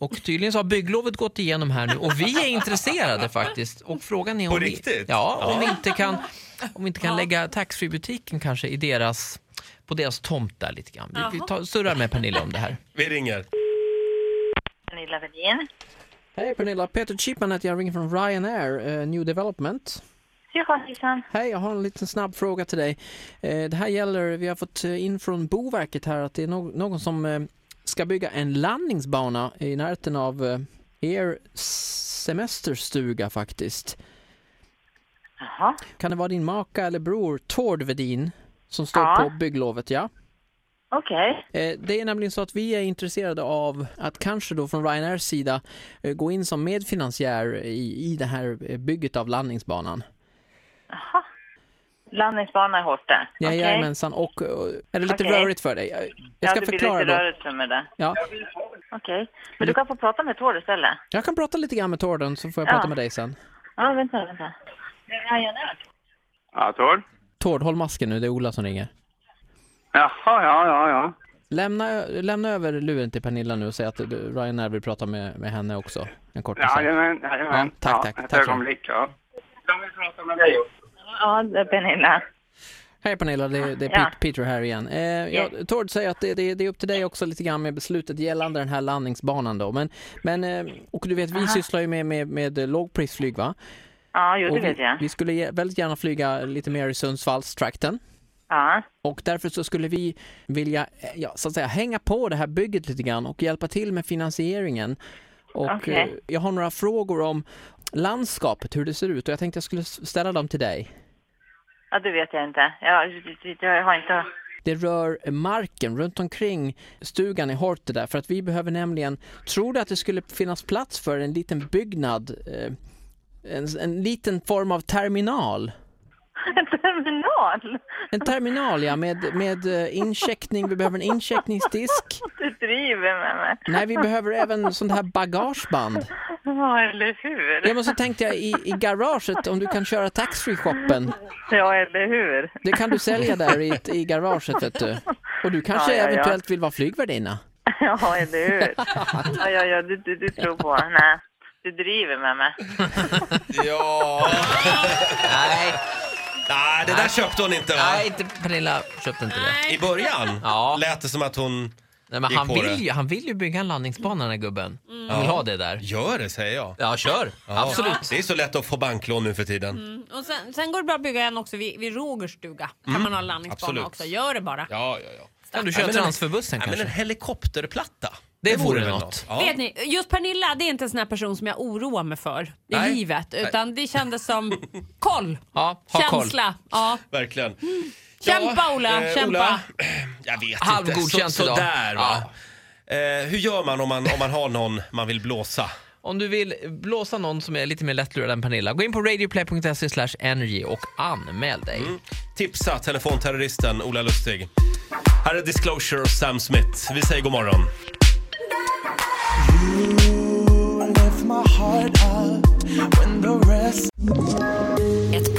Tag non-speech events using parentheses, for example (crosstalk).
Och tydligen så har bygglovet gått igenom här nu och vi är intresserade faktiskt. Och frågan är om På vi, riktigt? ja, om Ja. vi inte kan, om vi inte kan lägga taxfree-butiken kanske i deras, på deras tomt där lite grann. Vi, vi tar, surrar med Pernilla om det här. Vi ringer. Pernilla Wedin. Hej Pernilla, Peter Chipman heter jag, ringer från Ryanair eh, New Development. Jaha, hejsan. Hej, jag har en liten snabb fråga till dig. Eh, det här gäller, vi har fått eh, in från Boverket här att det är no- någon som eh, ska bygga en landningsbana i närheten av eh, er semesterstuga faktiskt. Jaha. Kan det vara din maka eller bror Tord Vedin som står Ja. på bygglovet? Ja. Okej. Eh, Det är nämligen så att vi är intresserade av att kanske då från Ryanairs sida eh, gå in som medfinansiär i, i det här eh, bygget av landningsbanan. Landningsbana i Horten. Okej. Jajamensan, och eh, är det lite Okej. rörigt för dig? Eh, Jag- Jag ska ja, det förklara blir lite då. rörelse med det. Ja, Okej. Men du kan få prata med Tord istället. jag kan prata lite grann med Torden så får jag prata Ja. med dig sen. Ja, vänta, vänta. Det är Ryanair. Ja, Tor? Tord, håll masken nu, det är Ola som ringer. Jaha, ja, ja, ja. Lämna, ö- lämna över luren till Pernilla nu och säg att du- Ryanair vill prata med, med henne också. En kort ja, Jajamän, jajamän. Ja, tack, tack, Ett tack. ögonblick, ja. Kan vi prata med dig också? Ja, det är Pernilla. Hej Pernilla, det, är- det är Ah, Ja. Pete- Peter här igen. Eh, ja, Tord säger att det, det, det är upp till dig också lite grann med beslutet gällande den här landningsbanan då. Men, men eh, och du vet, vi sysslar ju med, med, med lågprisflyg va? Ja, jo, det Och vet vi, jag. vi skulle ge- väldigt gärna flyga lite mer i Sundsvallstrakten. Ja. Och därför så skulle vi vilja eh, ja, så att säga, hänga på det här bygget lite grann och hjälpa till med finansieringen. Och Okej. eh, jag har några frågor om landskapet, hur det ser ut och jag tänkte jag skulle s- ställa dem till dig. ja, det vet jag inte. Jag, jag har inte... Det rör marken runt omkring stugan i Horte där för att vi behöver nämligen, tror du att det skulle finnas plats för en liten byggnad, eh, en, en liten form av terminal? En terminal? En terminal ja, med, med eh, incheckning, vi behöver en incheckningsdisk. Du driver med mig. Nej, vi behöver även sånt här bagageband. Ja, eller hur? Ja, men så tänkte jag i, i garaget, om du kan köra taxfree-shoppen. Ja, eller hur? Det kan du sälja där i, i garaget, vet du. Och du kanske Ja, ja, ja. eventuellt vill vara flygvärdinna? Ja, eller (laughs) hur? Ja, ja, ja, du, du, du tror på... Nej, du driver med mig. Ja. Nej, (laughs) Nej, det där köpte hon inte va? nej inte Pernilla köpte inte det. I början Ja. lät det som att hon Nej, men Gick han på vill, det. ju, han vill ju bygga en landningsbana den här gubben. Han vill ha det där. gör det, säger jag. Ja, kör. Absolut. Mm. Det är så lätt att få banklån nu för tiden. Och sen, sen går det bra att bygga en också vid, vid Rogers stuga. Kan man ha en landningsbana Mm. absolut. också. Gör det bara. Ja, ja, ja. Kan du Ja, köra men en- transferbussen Ja, men en kanske? helikopterplatta. Det vore väl något. Ja. Vet ni, just Pernilla det är inte en sån här person som jag oroar mig för i Nej. livet. Utan det kändes (laughs) som koll, Ja, ha koll. känsla. Ja. Verkligen. Mm. eh, Kämpa, Ola, kämpa. (clears throat) Jag vet inte. Halvgodkänt Så, idag. sådär va. Eh, hur gör man om, man om man har någon man vill blåsa? Om du vill blåsa någon som är lite mer lättlurad än Pernilla, gå in på radioplay.se slash energy och anmäl dig. Tipsa telefonterroristen Ola Lustig. Här är Disclosure och Sam Smith. Vi säger god morgon. Ett